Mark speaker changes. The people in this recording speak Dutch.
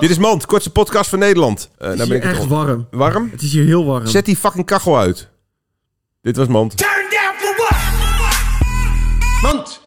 Speaker 1: Dit is Mand, kortste podcast van Nederland. Eh, nou ben
Speaker 2: Het is
Speaker 1: ik
Speaker 2: hier
Speaker 1: het
Speaker 2: echt
Speaker 1: al-
Speaker 2: warm.
Speaker 1: warm.
Speaker 2: Het is hier heel warm.
Speaker 1: Zet die fucking kachel uit. Dit was Mand.
Speaker 3: Turn down for what?
Speaker 4: Mand.